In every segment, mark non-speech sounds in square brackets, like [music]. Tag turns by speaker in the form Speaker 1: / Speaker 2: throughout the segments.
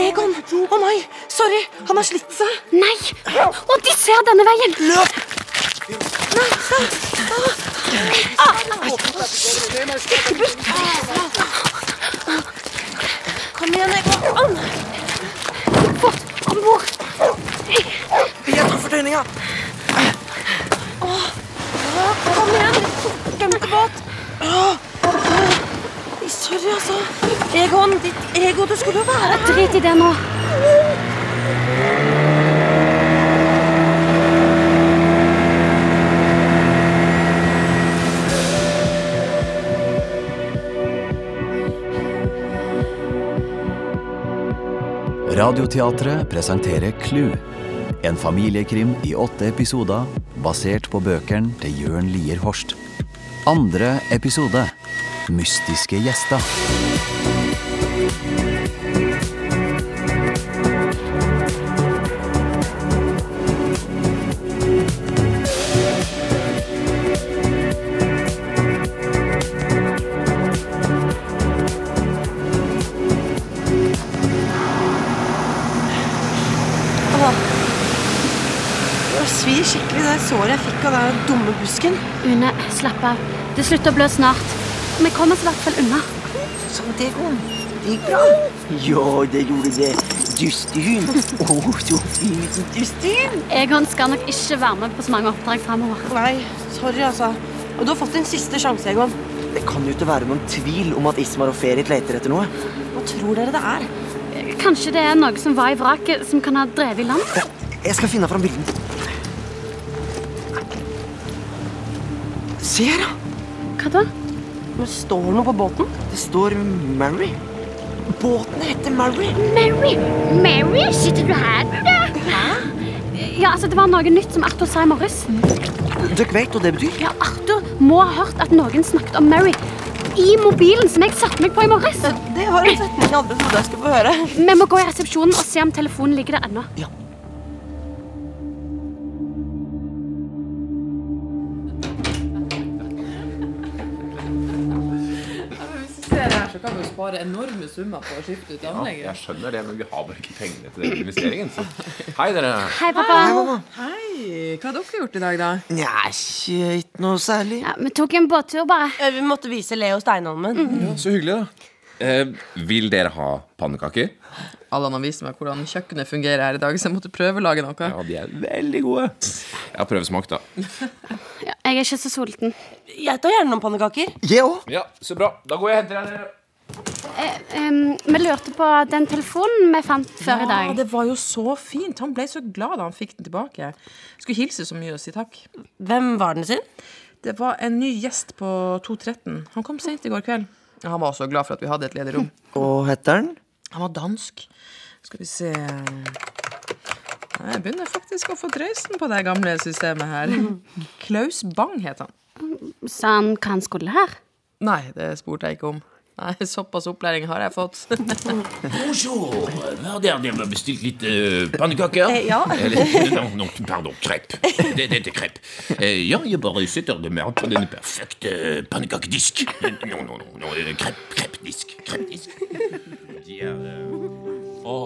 Speaker 1: Egon! Å nei! Sorry! Han har slitt seg.
Speaker 2: Nei! Og de ser denne veien!
Speaker 1: Løp! Kom igjen, Egon.
Speaker 2: Fort om bord!
Speaker 1: Jeg tar fortøyninga.
Speaker 2: Kom igjen! Dumpebåt!
Speaker 1: Sorry, altså. Egon, ditt ego. Du skulle jo være her.
Speaker 2: Drit i det nå.
Speaker 3: Radioteatret presenterer Clou. En familiekrim i åtte episoder basert på bøkene til Jørn Lier Horst. Andre episode Mystiske gjester.
Speaker 1: Det svir skikkelig det såret jeg fikk av den dumme busken.
Speaker 2: Une, slapp av. Det slutter å blø snart. Vi kommer oss i hvert fall unna.
Speaker 4: Sånn, Egon. Det gikk bra. Ja, det gjorde det. Dustehund. Å, så fint dustehund.
Speaker 2: Egon skal nok ikke være med på så mange oppdrag framover.
Speaker 1: Nei, sorry, altså. Og Du har fått din siste sjanse, Egon.
Speaker 4: Det kan jo ikke være noen tvil om at Ismar og Ferit leter etter noe.
Speaker 1: Hva tror dere det er?
Speaker 2: Kanskje det er noe som var i vraket, som kan ha drevet i land?
Speaker 4: Ja, Jeg skal finne fram bilden. Se her, da.
Speaker 2: Hva da?
Speaker 1: Men Står det noe på båten?
Speaker 4: Det står Mary. Båten heter Mary.
Speaker 2: Mary! Mary, sitter du her? Ja, altså, det var noe nytt som Arthur sa i morges.
Speaker 4: Dere vet hva det betyr?
Speaker 2: Ja, Arthur må ha hørt at noen snakket om Mary i mobilen som jeg satte meg på i morges.
Speaker 1: Det var en setning jeg aldri trodde jeg skulle få høre.
Speaker 2: Vi må gå i resepsjonen og se om telefonen ligger der ennå.
Speaker 4: Ja.
Speaker 5: Hvis du ser her, så kan vi jo spare enorme summer på å skifte ut anlegget.
Speaker 6: Jeg skjønner det, men vi har bare ikke pengene til den investeringen. Så. Hei, dere.
Speaker 2: Hei, pappa.
Speaker 5: Hei! Hva har dere gjort i dag, da?
Speaker 4: Nja, ikke ikke noe særlig.
Speaker 2: Ja, vi tok en båttur, bare.
Speaker 1: Eh, Vi måtte vise Leo Steinholmen.
Speaker 6: Ja, så hyggelig, da. Eh, vil dere ha pannekaker?
Speaker 5: Allan har vist meg hvordan kjøkkenet fungerer her i dag, så jeg måtte prøvelage noe.
Speaker 6: Ja, de er veldig gode. Jeg har prøvesmakt, da.
Speaker 2: Ja, jeg er ikke så sulten.
Speaker 1: Jeg tar gjerne noen pannekaker.
Speaker 4: Jeg òg.
Speaker 6: Ja, Så bra. Da går jeg og henter dere.
Speaker 2: Eh, Em, vi lurte på den telefonen vi fant før i
Speaker 5: Ja,
Speaker 2: dag.
Speaker 5: det var jo så fint. Han ble så glad da han fikk den tilbake. Skulle hilse så mye og si takk.
Speaker 1: Hvem var den sin?
Speaker 5: Det var en ny gjest på 213. Han kom sent i går kveld. Ja, Han var så glad for at vi hadde et ledig rom.
Speaker 4: Og heter den?
Speaker 5: Han var dansk. Skal vi se Nei, Jeg begynner faktisk å få dreisen på det gamle systemet
Speaker 2: [laughs]
Speaker 5: her. Klaus Bang het han.
Speaker 2: Sa han hva han skulle her?
Speaker 5: Nei, det spurte jeg ikke om. Nei, Såpass opplæring har jeg fått.
Speaker 7: Bonjour. Ja, Dere dere har bestilt litt eh, pannekaker?
Speaker 1: Eh, ja.
Speaker 7: Eller, no, no, euh, pardon, krepp. Det, det er krepp. Eh, ja, jeg bare setter dem her på den perfekte pannekakedisk. No, no, no, no, eh, krepp, kreppdisk, kreppdisk. De er... eh, Å,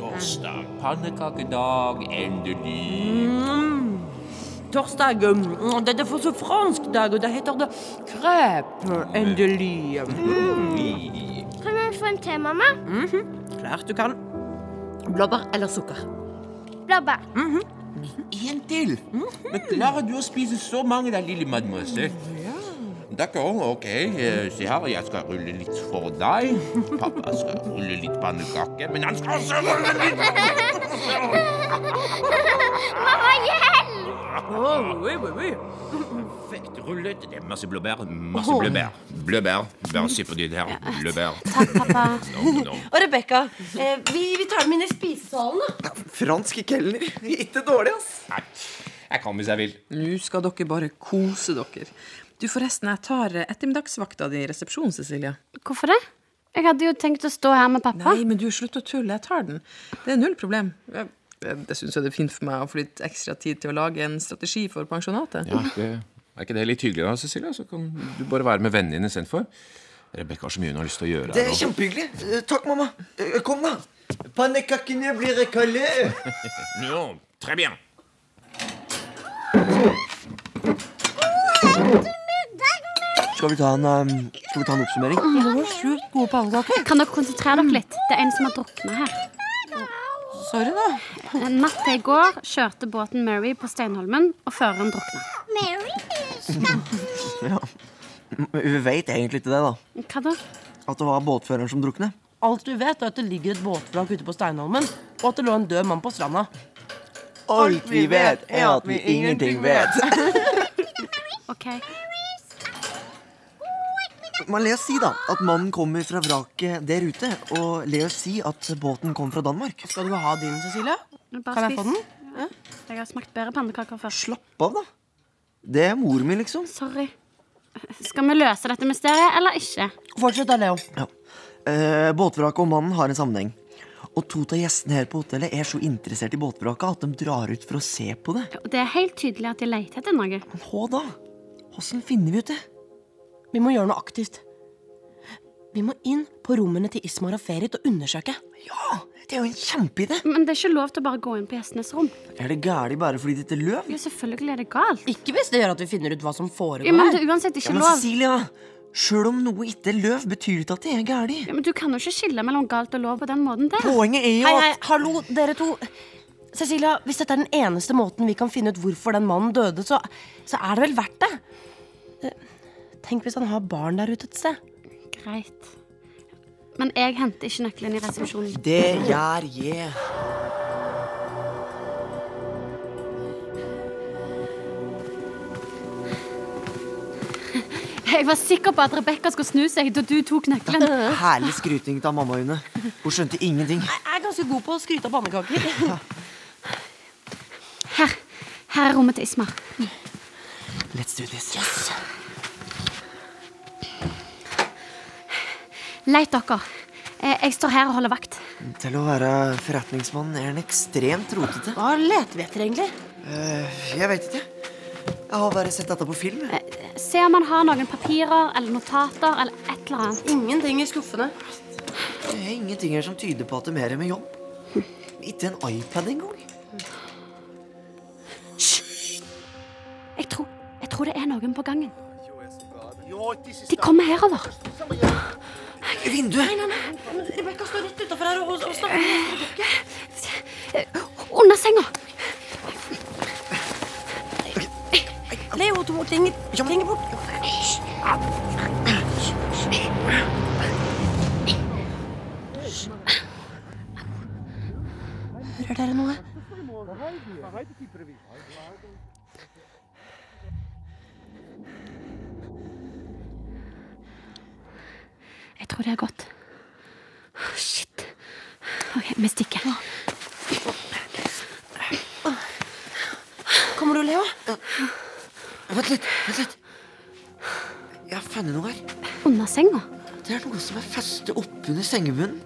Speaker 7: torsdag. Pannekakedag, endelig.
Speaker 1: Mm. Torsdag. mm, Det er for så fransk dag, og det heter det crepe. Endelig.
Speaker 7: Mm,
Speaker 2: Kan vi få en te, mamma?
Speaker 1: Mhm, Klart du kan. Blåbær eller sukker?
Speaker 2: Blabba.
Speaker 7: En til. Men klarer du å spise så mange da, lille mademoiselle? D'accord, ok. Eh, Se her, jeg skal rulle litt for deg. Pappa skal rulle litt pannekake, men han skal også rulle litt
Speaker 2: Mamma, hjelp!
Speaker 7: perfekt rullet. Det er masse blåbær, masse blåbær. Blåbær. Bare se på det der. Blåbær.
Speaker 2: Takk,
Speaker 1: [laughs]
Speaker 2: pappa.
Speaker 7: Nom, nom.
Speaker 1: Og Rebekka, eh, vi, vi tar dem inn i spisesalen, da.
Speaker 4: Fransk kelner. Ikke dårlig, ass.
Speaker 6: Nei, jeg kan hvis jeg vil.
Speaker 5: Nå skal dere bare kose dere. Du, forresten, jeg tar eh, ettermiddagsvakta di i resepsjonen, Cecilie.
Speaker 2: Hvorfor det? Jeg hadde jo tenkt å stå her med pappa.
Speaker 5: Nei, men du, slutt å tulle. Jeg tar den. Det er null problem. Jeg, jeg, det syns jeg det er fint for meg å få litt ekstra tid til å lage en strategi for pensjonatet.
Speaker 6: Ja, det, er ikke det litt hyggelig da, Cecilia? Så kan du bare være med vennene dine istedenfor. Rebekka har så mye hun har lyst til å gjøre.
Speaker 4: Det
Speaker 6: her
Speaker 4: er
Speaker 6: nå.
Speaker 4: kjempehyggelig. Eh, Takk, mamma. Eh, Kom, da.
Speaker 8: Pannekakene blir kalde.
Speaker 7: Non, très bien.
Speaker 4: Skal vi ta en, um, skal vi ta en oppsummering?
Speaker 5: Det var sjukt gode pannekaker.
Speaker 2: Kan dere konsentrere dere litt? Det er en som har druknet her.
Speaker 5: Sorry, da.
Speaker 2: En Natt til i går kjørte båten Mary på Steinholmen, og føreren drukna.
Speaker 4: [laughs] Ja. Vi vet egentlig ikke det, da.
Speaker 2: Hva da?
Speaker 4: At det var båtføreren som druknet.
Speaker 1: Alt du vet, er at det ligger et båtvrak ute på Steinholmen, og at det lå en død mann på stranda.
Speaker 4: Alt vi vet, er at vi ingenting vet.
Speaker 1: [laughs]
Speaker 2: OK.
Speaker 4: [laughs] Men la oss si da at mannen kommer fra vraket der ute, og la oss si at båten kom fra Danmark.
Speaker 1: Skal du ha din, Cecilie?
Speaker 2: Bare
Speaker 1: Kan jeg
Speaker 2: spis.
Speaker 1: få den?
Speaker 2: Jeg har smakt bedre pannekaker før.
Speaker 4: Slapp av, da. Det er mor mi, liksom.
Speaker 2: Sorry. Skal vi løse dette mysteriet eller ikke?
Speaker 1: Fortsett da, Leo.
Speaker 4: Ja. Eh, båtvraket og mannen har en sammenheng. Og to av gjestene her på hotellet er så interessert i båtvraket at de drar ut for å se på det.
Speaker 2: Det er helt tydelig at de leter etter noe.
Speaker 4: Men hva da? Åssen finner vi ut det?
Speaker 1: Vi må gjøre noe aktivt. Vi må inn på rommene til Ismar og Ferit og undersøke.
Speaker 4: Ja, det er jo en kjempeidé!
Speaker 2: Men det er ikke lov til å bare gå inn på gjestenes rom.
Speaker 4: Er det galt bare fordi det ikke er løv?
Speaker 2: Jo, selvfølgelig er det galt.
Speaker 1: Ikke hvis det gjør at vi finner ut hva som
Speaker 2: Ja, men
Speaker 1: foregår.
Speaker 2: det er uansett ikke
Speaker 4: Ja, men
Speaker 2: lov.
Speaker 4: Cecilia, sjøl om noe ikke er løv, betyr ikke at det er galt.
Speaker 2: Ja, men du kan jo ikke skille mellom galt og lov på den måten der.
Speaker 4: Poenget er jo
Speaker 1: Hei,
Speaker 4: at
Speaker 1: hei, hallo, dere to. Cecilia, hvis dette er den eneste måten vi kan finne ut hvorfor den mannen døde, så, så er det vel verdt det. Eh, Tenk hvis han har barn der ute et sted.
Speaker 2: Greit. Men jeg henter ikke nøkkelen i resepsjonen.
Speaker 4: Det gjør jeg.
Speaker 2: Jeg var sikker på at Rebekka skulle snu seg da du tok nøkkelen.
Speaker 4: Herlig skryting av mamma Une. Hun skjønte ingenting.
Speaker 1: Jeg er ganske god på å skryte av pannekaker.
Speaker 2: Her. Her er rommet til Ismar.
Speaker 4: Let's do this.
Speaker 2: Leit dere. Eh, Jeg står her og holder vakt.
Speaker 4: Til å være forretningsmann er han ekstremt rotete. Eh,
Speaker 1: Hva leter vi etter, egentlig?
Speaker 4: Jeg vet ikke. Jeg har bare sett dette på film.
Speaker 2: Se om han har noen papirer eller notater eller et eller annet.
Speaker 1: Ingenting i skuffene.
Speaker 4: Det er ingenting her som tyder på at de her er med jobb.
Speaker 1: [laughs]
Speaker 4: Ikke en iPad engang.
Speaker 2: Jeg tror, jeg tror det er noen på gangen. De kommer herover.
Speaker 4: Vinduet!
Speaker 1: Rebekka står rett utafor her og, og snakker.
Speaker 2: Eh, Under senga.
Speaker 1: Leo, du må klenge, klenge bort. Hører dere noe?
Speaker 2: Jeg tror det er godt. Åh, Shit. OK, vi stikker.
Speaker 1: Kommer du, Leo?
Speaker 4: Vent litt. vent litt. Jeg har funnet noe her.
Speaker 2: Under senga?
Speaker 4: Det er noe som er festet oppunder sengebunnen.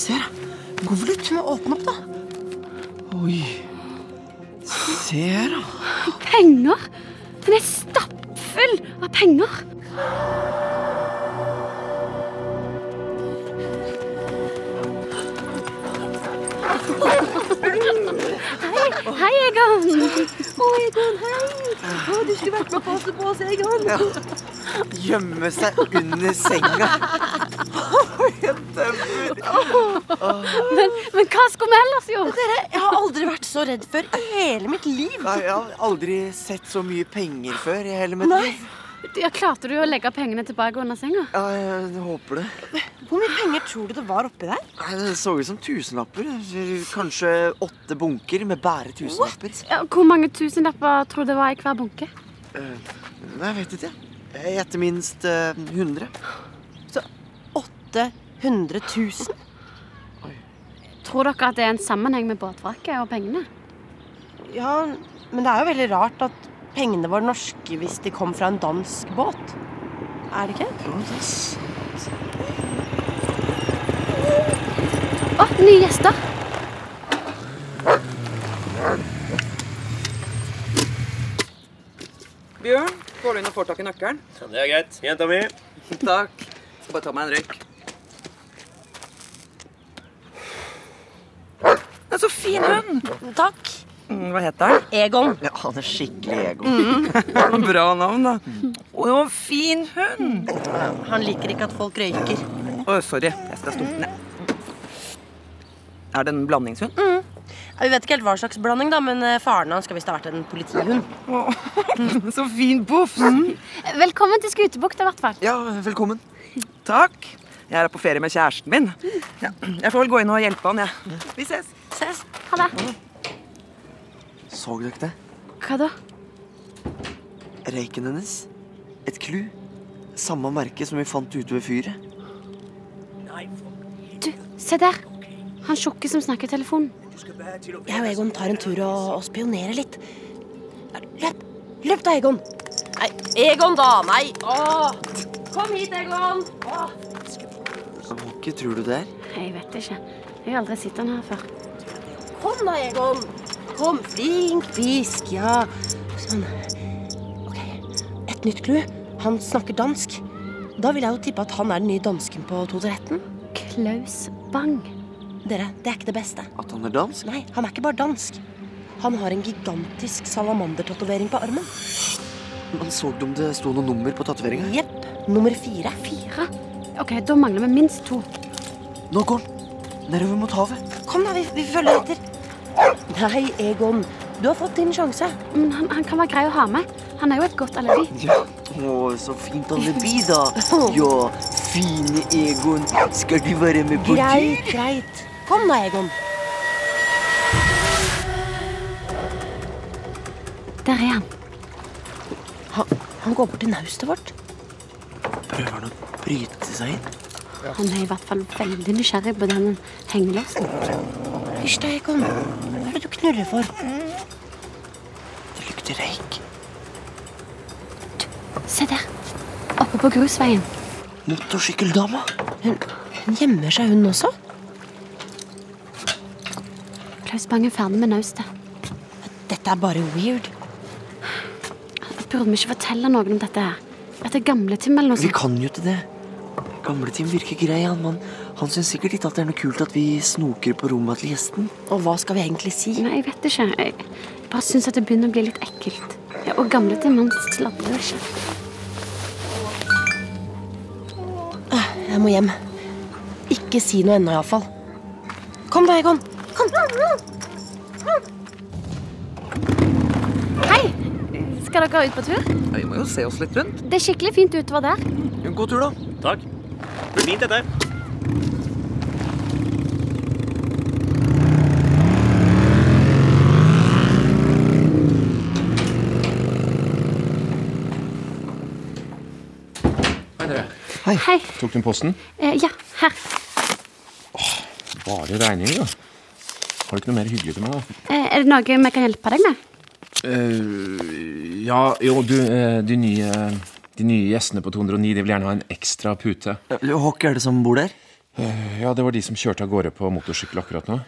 Speaker 4: Se her, da. Konvolutt. Åpne opp, da. Oi. Se her, da.
Speaker 2: Penger! Den er stappfull av penger. Hei, hei Egon. Å, Egon, hei.
Speaker 1: du skulle vært med og passe på oss, Egon.
Speaker 4: gjemme seg under senga.
Speaker 2: Men, men hva skulle vi ellers gjort?
Speaker 1: Dere, jeg har aldri vært så redd før i hele mitt liv.
Speaker 4: Nei, jeg har aldri sett så mye penger før i hele mitt liv.
Speaker 2: Ja, klarte du å legge pengene tilbake under senga?
Speaker 4: Ja, jeg håper det.
Speaker 1: Hvor mye penger tror du det var oppi der?
Speaker 4: Nei, Det så ut som tusenlapper. Kanskje åtte bunker med bare tusenlapper.
Speaker 2: Ja, hvor mange tusenlapper tror du det var i hver bunke?
Speaker 4: Eh, Nei, jeg vet ikke. Jeg gjetter minst eh, 100.
Speaker 1: 800 000?
Speaker 2: Tror dere at det er en sammenheng med båtvraket og pengene?
Speaker 1: Ja, men det er jo veldig rart at pengene var norske hvis de kom fra en dansk båt. Er det ikke?
Speaker 2: Å, nye gjester.
Speaker 5: Bjørn, går du inn og får tak i nøkkelen?
Speaker 8: Det er greit. Jenta mi.
Speaker 5: Takk.
Speaker 4: Bare ta meg en røyk. Det er så fin hund!
Speaker 1: Takk.
Speaker 4: Mm, Hva heter han?
Speaker 1: Egon.
Speaker 4: Ja, han er skikkelig ego. [laughs] Bra navn, da. Å, jo, en fin hund!
Speaker 1: Han liker ikke at folk røyker.
Speaker 4: Å, sorry. Jeg skal stoppe den, jeg. Er det en blandingshund? [laughs]
Speaker 1: Ja, Mm. Vi vet ikke helt hva slags blanding, da, men eh, faren hans skal visst ha vært en politihund.
Speaker 4: [laughs] Så fin bofs!
Speaker 2: Velkommen til Skutebukta, i hvert fall.
Speaker 4: Ja, velkommen. Takk. Jeg er her på ferie med kjæresten min. Ja, jeg får vel gå inn og hjelpe han, jeg. Vi ses. Mm.
Speaker 1: Ses.
Speaker 2: Ha det.
Speaker 4: Så dere det?
Speaker 2: Hva da?
Speaker 4: Røyken hennes? Et clou? Samme merke som vi fant ute ved fyret?
Speaker 2: Du, se der. Han tjukke som snakker i telefonen.
Speaker 1: Jeg og Egon tar en tur og, og spionerer litt. Løp! Løp da, Egon! Nei, Egon, da! Nei! Åh. Kom hit, Egon! Åh.
Speaker 4: Hva tror du det er?
Speaker 2: Jeg vet ikke. Jeg har aldri sett han her før.
Speaker 1: Kom da, Egon! Kom, flink fisk, ja. Sånn. Ok, et nytt clou. Han snakker dansk. Da vil jeg jo tippe at han er den nye dansken på Totoretten.
Speaker 2: Klaus Bang.
Speaker 1: Dere, det er ikke det beste.
Speaker 4: At han er dansk?
Speaker 1: Nei, han er ikke bare dansk. Han har en gigantisk salamandertatovering på armen.
Speaker 4: Man så om det sto noe nummer på tatoveringa.
Speaker 1: Jepp. Nummer fire.
Speaker 2: Fire. OK, da mangler vi minst to.
Speaker 4: Nå går han! Nedover mot havet.
Speaker 1: Kom, da. Vi, vi følger etter. Nei, Egon. Du har fått din sjanse.
Speaker 2: Men han, han kan være grei å ha med. Han er jo et godt alibi.
Speaker 4: Ja. Å, så fint alibi, da. Ja, fine Egon. Skal du være med på
Speaker 1: Greit, greit. Kom da, Egon.
Speaker 2: Der er han.
Speaker 1: Han, han går bort til naustet vårt.
Speaker 4: Prøver han å bryte seg inn?
Speaker 2: Han er i hvert fall veldig nysgjerrig på den hengelåsen.
Speaker 1: Hysj da, Egon. Hva er det du knuller for?
Speaker 2: Mm.
Speaker 4: Det lukter røyk.
Speaker 2: Se der. Oppe på grusveien.
Speaker 4: Motorsykkeldama.
Speaker 1: Hun gjemmer seg, hun også.
Speaker 2: Klaus Bang er ferdig med naustet.
Speaker 1: Dette er bare weird.
Speaker 2: Burde vi ikke fortelle noen om dette her? At det er gamletime eller noe
Speaker 4: Vi
Speaker 2: sånt?
Speaker 4: kan jo ikke det. Gamleteam virker grei, han, men han syns sikkert ikke at det er noe kult at vi snoker på rommet til gjesten.
Speaker 1: Og hva skal vi egentlig si?
Speaker 2: Nei, jeg vet ikke. Jeg bare syns at det begynner å bli litt ekkelt. Ja, og gamletime, han sladrer jo ikke.
Speaker 1: Jeg må hjem. Ikke si noe ennå, iallfall. Kom da, Egon. Kom.
Speaker 2: Hei! Skal dere ut på tur?
Speaker 4: Vi må jo se oss litt rundt.
Speaker 2: Det er skikkelig fint utover der.
Speaker 4: God tur, da.
Speaker 8: Takk. Blir fint, dette.
Speaker 2: Hei.
Speaker 7: Tok du posten?
Speaker 2: Eh, ja, her.
Speaker 7: Bare regninger, da. Har du ikke noe mer hyggelig til meg, da?
Speaker 2: Eh, er det noe vi kan hjelpe deg med?
Speaker 7: ja, jo, du, eh, de nye De nye gjestene på 209 de vil gjerne ha en ekstra pute. Eh,
Speaker 4: Hvem Eh, er det som bor der?
Speaker 7: Ja, det var de som kjørte av gårde på motorsykkel akkurat nå.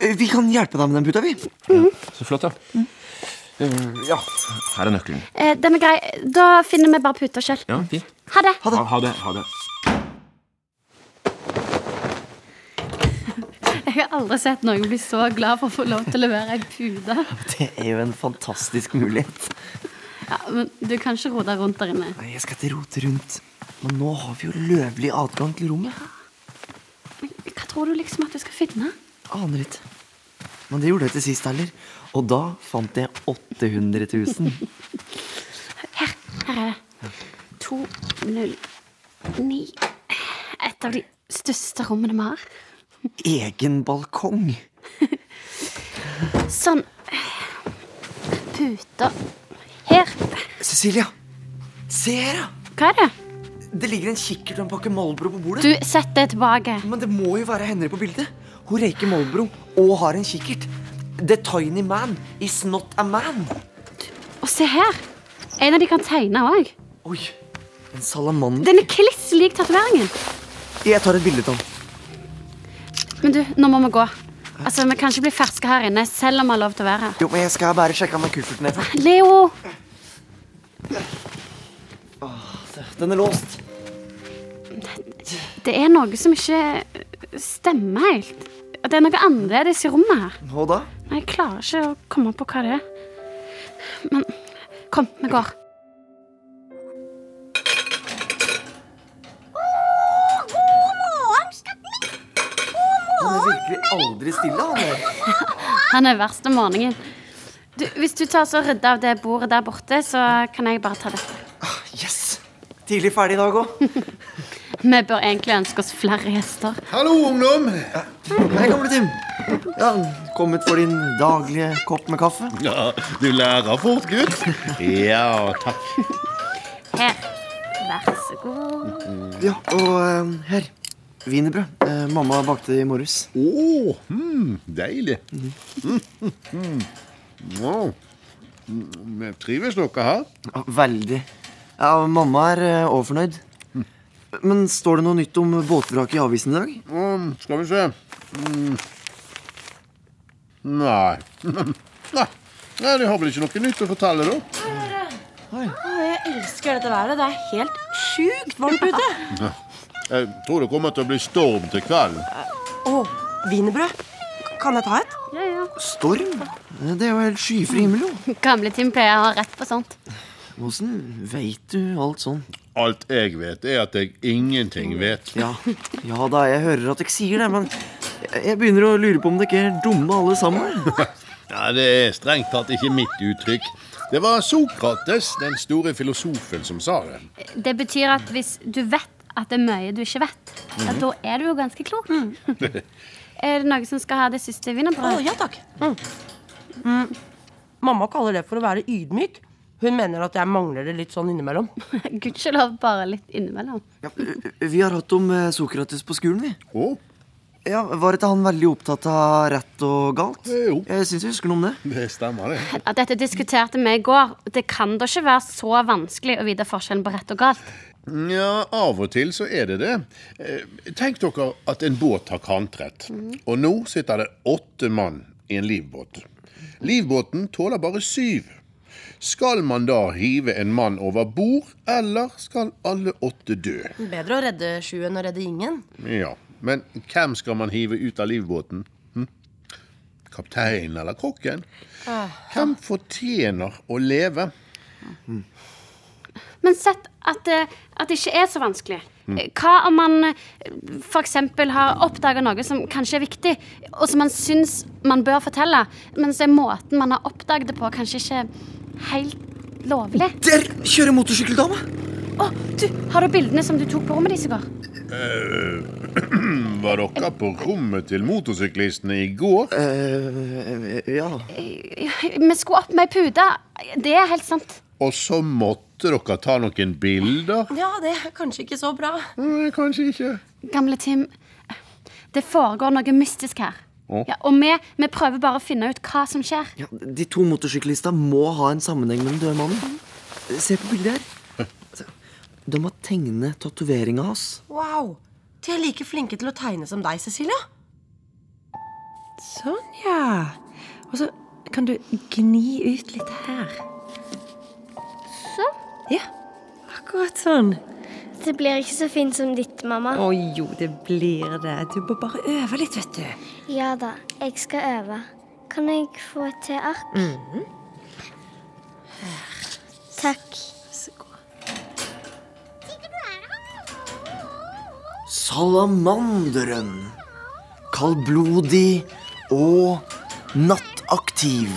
Speaker 4: Eh, Vi kan hjelpe deg med den puta, vi.
Speaker 7: Så flott, da. Eh, ja, her er nøkkelen.
Speaker 2: Eh, den er grei. Da finner vi bare puter selv.
Speaker 7: Ja, fint.
Speaker 2: Ha det.
Speaker 7: Ha, ha det. Ha det.
Speaker 2: Jeg har aldri sett noen bli så glad for å få lov til å levere ei pute.
Speaker 4: Det er jo en fantastisk mulighet.
Speaker 2: Ja, men du kan ikke rote rundt der inne.
Speaker 4: Nei, Jeg skal ikke rote rundt. Men nå har vi jo løvlig adgang til rommet.
Speaker 2: Hva tror du liksom at du skal finne?
Speaker 4: Aner ikke. Men det gjorde jeg til sist heller. Og da fant jeg 800 000.
Speaker 2: Her. Her er det. 209. Et av de største rommene vi har.
Speaker 4: Egen balkong.
Speaker 2: Sånn. Puter. Her.
Speaker 4: Cecilia, se her, da.
Speaker 2: Hva er det?
Speaker 4: Det ligger en kikkert og en pakke Malbro på bordet.
Speaker 2: Du, sett det tilbake.
Speaker 4: Men det må jo være Henry på bildet. Hun røyker Molbro og har en kikkert. The tiny man is not a man.
Speaker 2: Og se her. En av de kan tegne òg.
Speaker 4: Oi, en salamander.
Speaker 2: Den er kliss lik tatoveringen.
Speaker 4: Jeg tar et bilde av den.
Speaker 2: Men du, nå må vi gå. Altså, Vi kan ikke bli ferske her inne, selv om vi har lov til å være her.
Speaker 4: Jo, men jeg skal bare sjekke om kufferten er full.
Speaker 2: Leo!
Speaker 4: Den er låst.
Speaker 2: Det er noe som ikke eh, stemmer helt. Det er noe annerledes i rommet her.
Speaker 4: Hva da?
Speaker 2: Nei, Jeg klarer ikke å komme på hva det er. Men kom, vi går.
Speaker 4: Han er virkelig aldri stille, han der.
Speaker 2: Han er verst om morgenen. Du, hvis du tar så rydder av det bordet der borte, så kan jeg bare ta dette.
Speaker 4: Yes! Tidlig ferdig i dag òg.
Speaker 2: Vi bør egentlig ønske oss flere gjester.
Speaker 9: Hallo, ungdom!
Speaker 4: Hei, gamle Tim. Ja, Kommet for din daglige kopp med kaffe?
Speaker 9: Ja, du lærer fort, gutt. Ja, takk.
Speaker 2: Her. Vær så god.
Speaker 4: Ja, og eh, her. Wienerbrød. Eh, mamma bakte i morges.
Speaker 9: Å, mm, deilig. Mm, mm, mm. Wow. Mm, men Trives dere her?
Speaker 4: Ja, Veldig. Ja, Mamma er eh, overfornøyd. Men står det noe nytt om båtvraket i avisen i dag?
Speaker 9: Mm, skal vi se. Mm. Nei. [laughs] Nei. Nei, De har vel ikke noe nytt å fortelle, da? [laughs]
Speaker 1: Jeg elsker dette været. Det er helt sjukt varmt [laughs] ute.
Speaker 9: Jeg tror det kommer til å bli storm til kvelden.
Speaker 1: Å, wienerbrød. Kan jeg ta et?
Speaker 2: Ja, ja.
Speaker 4: Storm? Eh, Det er jo helt skyfri himmel, jo.
Speaker 2: Gamle Tim pleier å ha rett på sånt.
Speaker 4: Åssen veit du alt sånn?
Speaker 9: Alt jeg vet, er at jeg ingenting vet.
Speaker 4: Ja, ja da, jeg hører at dere sier det, men jeg- jeg begynner å lure på om dere ikke er dumme alle sammen.
Speaker 9: [laughs] Ja, Det er strengt tatt ikke mitt uttrykk. Det var Sokrates, den store filosofen, som sa det.
Speaker 2: Det betyr at hvis du vet at det er mye du ikke vet,
Speaker 1: Mhm.
Speaker 2: ja, da er du jo ganske klok.
Speaker 9: [laughs]
Speaker 2: er det noen som skal ha det siste
Speaker 1: Mm. Å,
Speaker 2: Mm. wienerbrødet?
Speaker 1: ja takk. Mm. Mamma kaller det for å være ydmyk. Hun mener at jeg mangler det litt sånn [laughs] innimellom.
Speaker 2: Gudskjelov bare litt innimellom.
Speaker 4: Ja, vi har hatt om eh, Sokrates på skolen, vi.
Speaker 9: Å,
Speaker 4: Ja, Var ikke han veldig opptatt av rett og galt?
Speaker 9: Jo.
Speaker 4: Jeg syns jeg husker noe om det.
Speaker 9: det stemmer, det.
Speaker 2: Ja, dette diskuterte vi i går. Det kan da ikke være så vanskelig å vite forskjellen på rett og galt.
Speaker 9: Nja, av og til så er det det. Eh, Tenk dere at en båt har kantret. Og nå sitter det åtte mann i en livbåt. Livbåten tåler bare syv. Skal man da hive en mann over bord, eller skal alle åtte dø?
Speaker 1: Bedre å redde sju enn å redde ingen.
Speaker 9: Ja, men hvem skal man hive ut av livbåten? Hm? Kapteinen eller kokken?
Speaker 1: Ah.
Speaker 9: Hvem fortjener å leve?
Speaker 2: Men sett at, eh, at det ikke er så vanskelig. Eh, Hva om man f.eks. har oppdaga noe som kanskje er viktig, og som man syns man bør fortelle, men så er måten man har oppdaget det på, kanskje ikke helt lovlig?
Speaker 4: Der kjører motorsykkeldama!
Speaker 2: Å, du, har du bildene som du tok på rommet ditt i går?
Speaker 9: Eh, [clears throat] Var dere på rommet til motorsyklistene i går?
Speaker 4: eh, ja.
Speaker 2: Vi skulle opp med ei pute. Det er helt sant.
Speaker 9: Og så måtte dere ta noen bilder?
Speaker 1: Ja, det er kanskje ikke så bra.
Speaker 9: Nei, kanskje ikke.
Speaker 2: Gamle Tim, det foregår noe mystisk her.
Speaker 9: Å.
Speaker 2: Ja, og vi, vi prøver bare å finne ut hva som skjer.
Speaker 4: ja. De to motorsyklista må ha en sammenheng med den døde mannen. Se på bildet her. Altså, De har tegnet tatoveringa hans.
Speaker 1: Wow. De er like flinke til å tegne som deg, Cecilia.
Speaker 10: Sånn, ja. Og så kan du gni ut litt her.
Speaker 11: Sånn.
Speaker 10: Ja, akkurat sånn.
Speaker 11: Det blir ikke så fint som ditt, mamma.
Speaker 10: Å jo, det blir det. Du må bare øve litt, vet du.
Speaker 11: Ja da, jeg skal øve. Kan jeg få et til ark?
Speaker 1: Mm.
Speaker 11: Takk.
Speaker 4: Salamanderen. Kaldblodig og nattaktiv.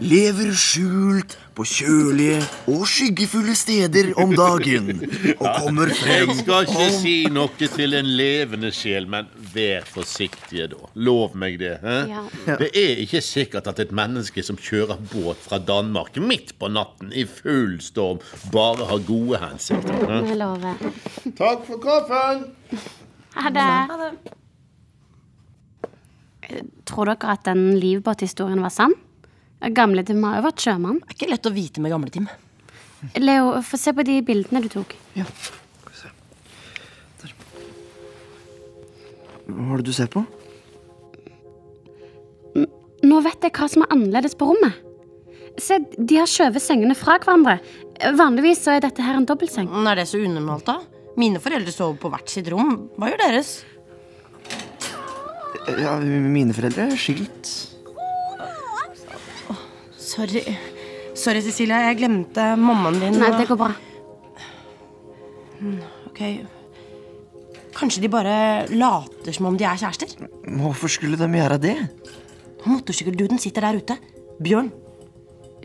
Speaker 4: Lever skjult på kjølige og skyggefulle steder om dagen. Og kommer frem
Speaker 9: Jeg skal ikke si noe til en levende sjel, men vær forsiktige, da. Lov meg det. hæ?
Speaker 2: Ja.
Speaker 9: Det er ikke sikkert at et menneske som kjører båt fra Danmark midt på natten i full storm, bare har gode hensikter. hæ?
Speaker 2: Vi lover.
Speaker 9: Takk for kaffen!
Speaker 2: Ha det. Tror dere at den livbåthistorien var sann? Gamle Tim har jo vært sjømann.
Speaker 1: Det er ikke lett å vite med gamle Tim.
Speaker 2: Leo, få se på de bildene du tok.
Speaker 4: Hva er det du ser på?
Speaker 2: Nå vet jeg hva som er annerledes på rommet. Se, de har skjøvet sengene fra hverandre. Vanligvis så er dette her en dobbeltseng.
Speaker 1: Men Er det så unormalt, da? Mine foreldre sov på hvert sitt rom. Hva gjør deres?
Speaker 4: Ja, mine foreldre er skilt.
Speaker 1: Sorry. Sorry, Cecilia. Jeg glemte mammaen din.
Speaker 2: Nei, det går bra.
Speaker 1: Mm, Ok. Kanskje de bare later som om de er kjærester?
Speaker 4: Hvorfor skulle de gjøre det?
Speaker 1: Motorsykkelduden sitter der ute. Bjørn.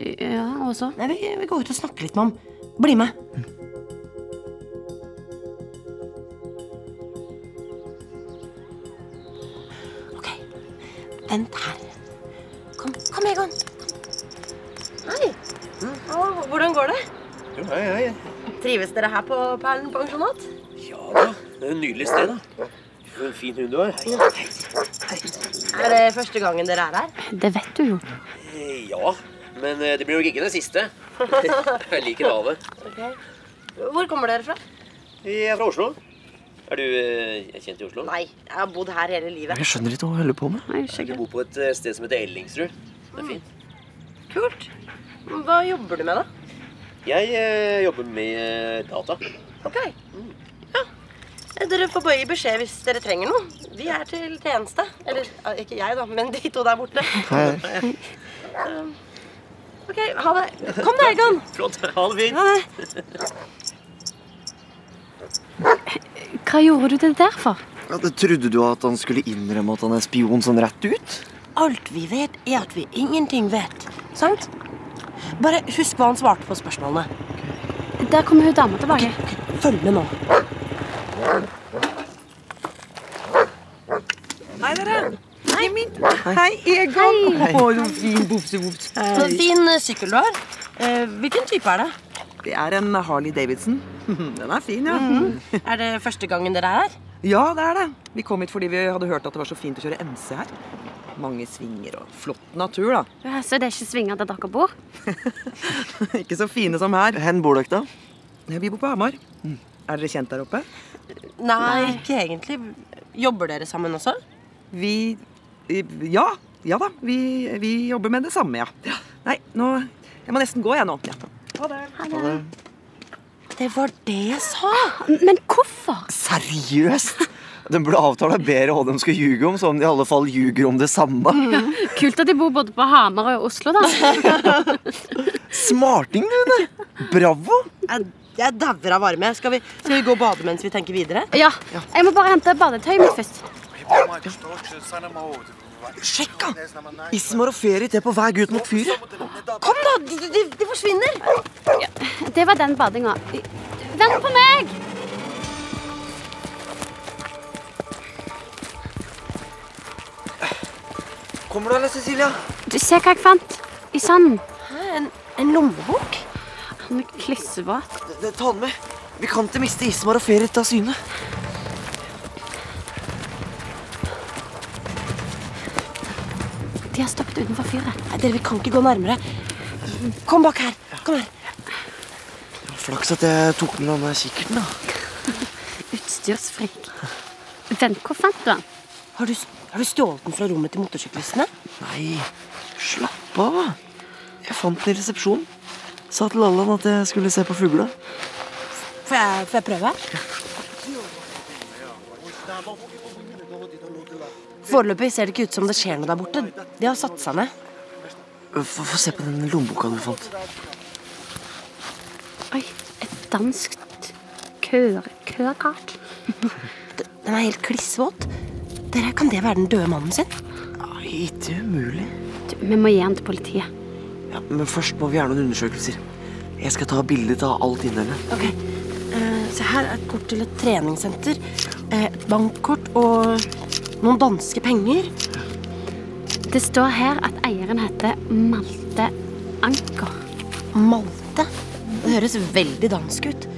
Speaker 2: Ja, og så?
Speaker 1: Nei, vi, vi går ut og snakker litt med ham. Bli med.
Speaker 12: Vent her. Kom, kom Egon. Kom. Hei. Å, Hvordan går det?
Speaker 13: Hei, hei.
Speaker 12: Trives dere her på Perlen pensjonat?
Speaker 13: Det er et nydelig sted, da. For en fin hund du har. Hei.
Speaker 12: Er det første gangen dere er her?
Speaker 2: Det vet du jo.
Speaker 13: Eh, Ja, men eh, det blir nok ikke den siste. [laughs] Jeg liker havet.
Speaker 12: Hvor kommer dere fra?
Speaker 13: Jeg er fra Oslo. Er du eh, kjent i Oslo?
Speaker 12: Nei, jeg har bodd her hele livet.
Speaker 4: Jeg skjønner ikke hva hun holder på med.
Speaker 13: Jeg bor på et eh, sted som heter Ellingsrud. Det er fint.
Speaker 12: Mm. Kult. Hva jobber du med, da?
Speaker 13: Jeg eh, jobber med eh, data.
Speaker 12: Ok.
Speaker 1: Eh,
Speaker 12: Ja. Dere får bare gi beskjed hvis dere trenger noe. Vi er til tjeneste. Eller ja, ikke jeg, da, men de to der borte. Um, OK, ha det. Kom da, Egon.
Speaker 13: Flott. Ha det fint.
Speaker 2: Hva gjorde du det der for?
Speaker 4: Ja, det trodde du at han skulle innrømme at han er spion sånn rett ut?
Speaker 1: Alt vi vet, er at vi ingenting vet. Sant? Bare husk hva han svarte på spørsmålene.
Speaker 2: Der kommer hun dama tilbake.
Speaker 1: Følg med nå.
Speaker 14: Hei, dere. Hei, min. Hei, Egon.
Speaker 1: Hei.
Speaker 14: Å, så Mm. fin bopsebops.
Speaker 1: Så fin eh, sykkel du har. Eh, hvilken type er det?
Speaker 14: Det er en Harley Davidson. [laughs] Den er fin, ja.
Speaker 1: Mhm. Er det første gangen dere er her?
Speaker 14: Ja, det er det. Vi kom hit fordi vi hadde hørt at det var så fint å kjøre MC her. Mange svinger og flott natur, da. [laughs]
Speaker 2: Ja, Så det er ikke svinger der dere bor?
Speaker 14: Ikke så fine som her. Hvor bor dere, da? Ja, vi bor på Hamar. Er dere kjent der oppe?
Speaker 1: Nei, ikke egentlig. Jobber dere sammen også?
Speaker 14: Vi Ja. Ja da. Vi, vi jobber med det samme, ja. ja. Nei, nå Jeg må nesten gå, jeg nå. Ja.
Speaker 1: Ha det. Det var det jeg sa.
Speaker 2: Ah, Men hvorfor?
Speaker 4: Seriøst? De burde avtale bedre hva de skal ljuge om, så om de i alle fall ljuger om det samme.
Speaker 2: [laughs] Kult at de bor både på Hamar og i Oslo,
Speaker 1: [laughs]
Speaker 2: da.
Speaker 4: Smarting, du, Une. Bravo.
Speaker 1: Jeg, jeg dauer av varme. Skal vi, skal vi gå og bade mens vi tenker videre?
Speaker 2: Ja. Jeg må bare hente badetøyet mitt først.
Speaker 14: er
Speaker 4: Sjekk, da! Ismar og Ferit er på vei ut mot fyret.
Speaker 1: Kom, da! De, de- de forsvinner.
Speaker 2: Det var den badinga. Vent på meg!
Speaker 4: Kommer du, eller, Cecilia?
Speaker 2: Du, Se hva jeg fant i sanden.
Speaker 1: En, en lommebok?
Speaker 2: Han er klissevåt.
Speaker 4: Ta den med. Vi kan ikke miste Ismar og Ferit av syne.
Speaker 2: De har stoppet utenfor fyret.
Speaker 1: Nei, dere, vi kan ikke gå nærmere. Kom bak her. Kom her.
Speaker 4: Flaks at jeg tok med denne kikkerten, da.
Speaker 2: Utstyrsfrik. Vent, hvor fant du den?
Speaker 1: Har du, har du stjålet den fra rommet til motorsyklistene?
Speaker 4: Nei, slapp av. Jeg fant den i resepsjonen. Sa til Allan at jeg skulle se på fugla.
Speaker 1: Får jeg, får jeg prøve? Foreløpig ser det ikke ut som det skjer noe der borte. De har satt seg ned.
Speaker 4: Få få se på den lommeboka du fant.
Speaker 2: Oi, et dansk kør... Kørkart.
Speaker 1: [laughs] Den er helt klissvåt. Dere, Kan det være den døde mannen sin?
Speaker 4: Ikke umulig.
Speaker 2: Du, vi må gi den til politiet.
Speaker 4: Ja, men først må vi gjøre noen undersøkelser. Jeg skal ta bilde av alt innholdet.
Speaker 1: Ok. Eh, se her er et kort til et treningssenter. eh, et bankkort og noen danske penger.
Speaker 2: Det står her at eieren heter Malte Anker.
Speaker 1: Malte. Det høres veldig dansk ut.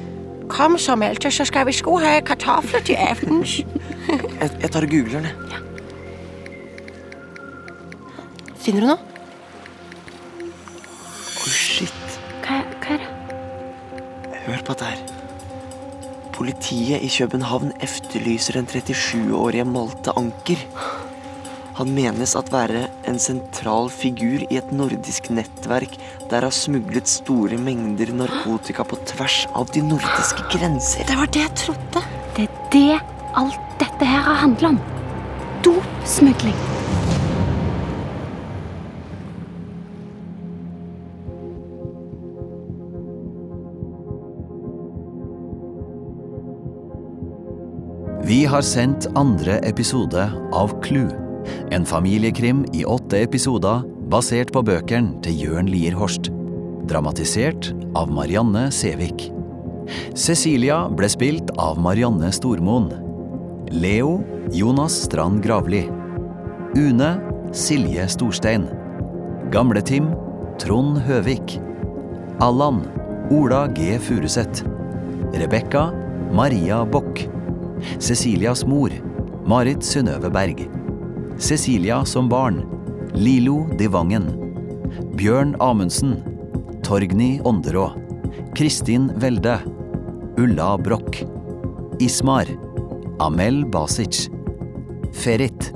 Speaker 1: Kom, Samuelte, så skal vi sko her kartofler til evens.
Speaker 4: Jeg, jeg tar og googler den. jeg.
Speaker 1: [laughs] Finner du noe?
Speaker 4: Å, shit.
Speaker 2: Hva, hva er det?
Speaker 4: Hør på dette her. Politiet i København efterlyser en 37-årig Malte Anker.
Speaker 15: Han menes at være en sentral figur i et nordisk nettverk der har smuglet store mengder narkotika på tvers av de nordiske grenser.
Speaker 10: Det var det jeg trodde.
Speaker 2: Det er det alt dette her har handla om. Dopsmugling.
Speaker 3: Vi har sendt andre episode av Clue. En familiekrim i åtte episoder basert på bøkene til Jørn Lier Horst. Dramatisert av Marianne Sævik. Cecilia ble spilt av Marianne Stormoen. Leo Jonas Strand Gravli. Une Silje Storstein. Gamle-Tim Trond Høvik. Allan Ola G. Furuseth. Rebekka Maria Bokk. Cecilias mor, Marit Synnøve Berg. Cecilia som barn, Lilo Divangen. Bjørn Amundsen. Torgny Ånderå. Kristin Welde. Ulla Broch. Ismar. Amel Basic. Ferit.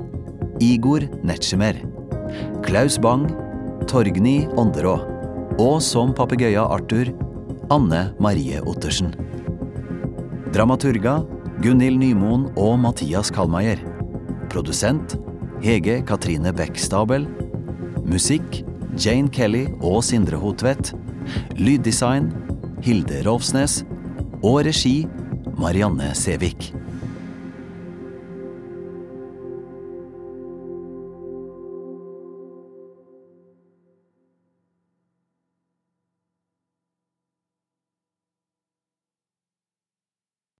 Speaker 3: Igor Netsjemer. Klaus Bang. Torgny Ånderå. Og som papegøya Arthur, Anne Marie Ottersen. Dramaturga Gunhild Nymoen og Mathias Kallmeier. Produsent Hege Katrine Bech Stabel. Musikk Jane Kelly og Sindre Hotvedt. Lyddesign Hilde Rolfsnes. Og regi Marianne Sævik.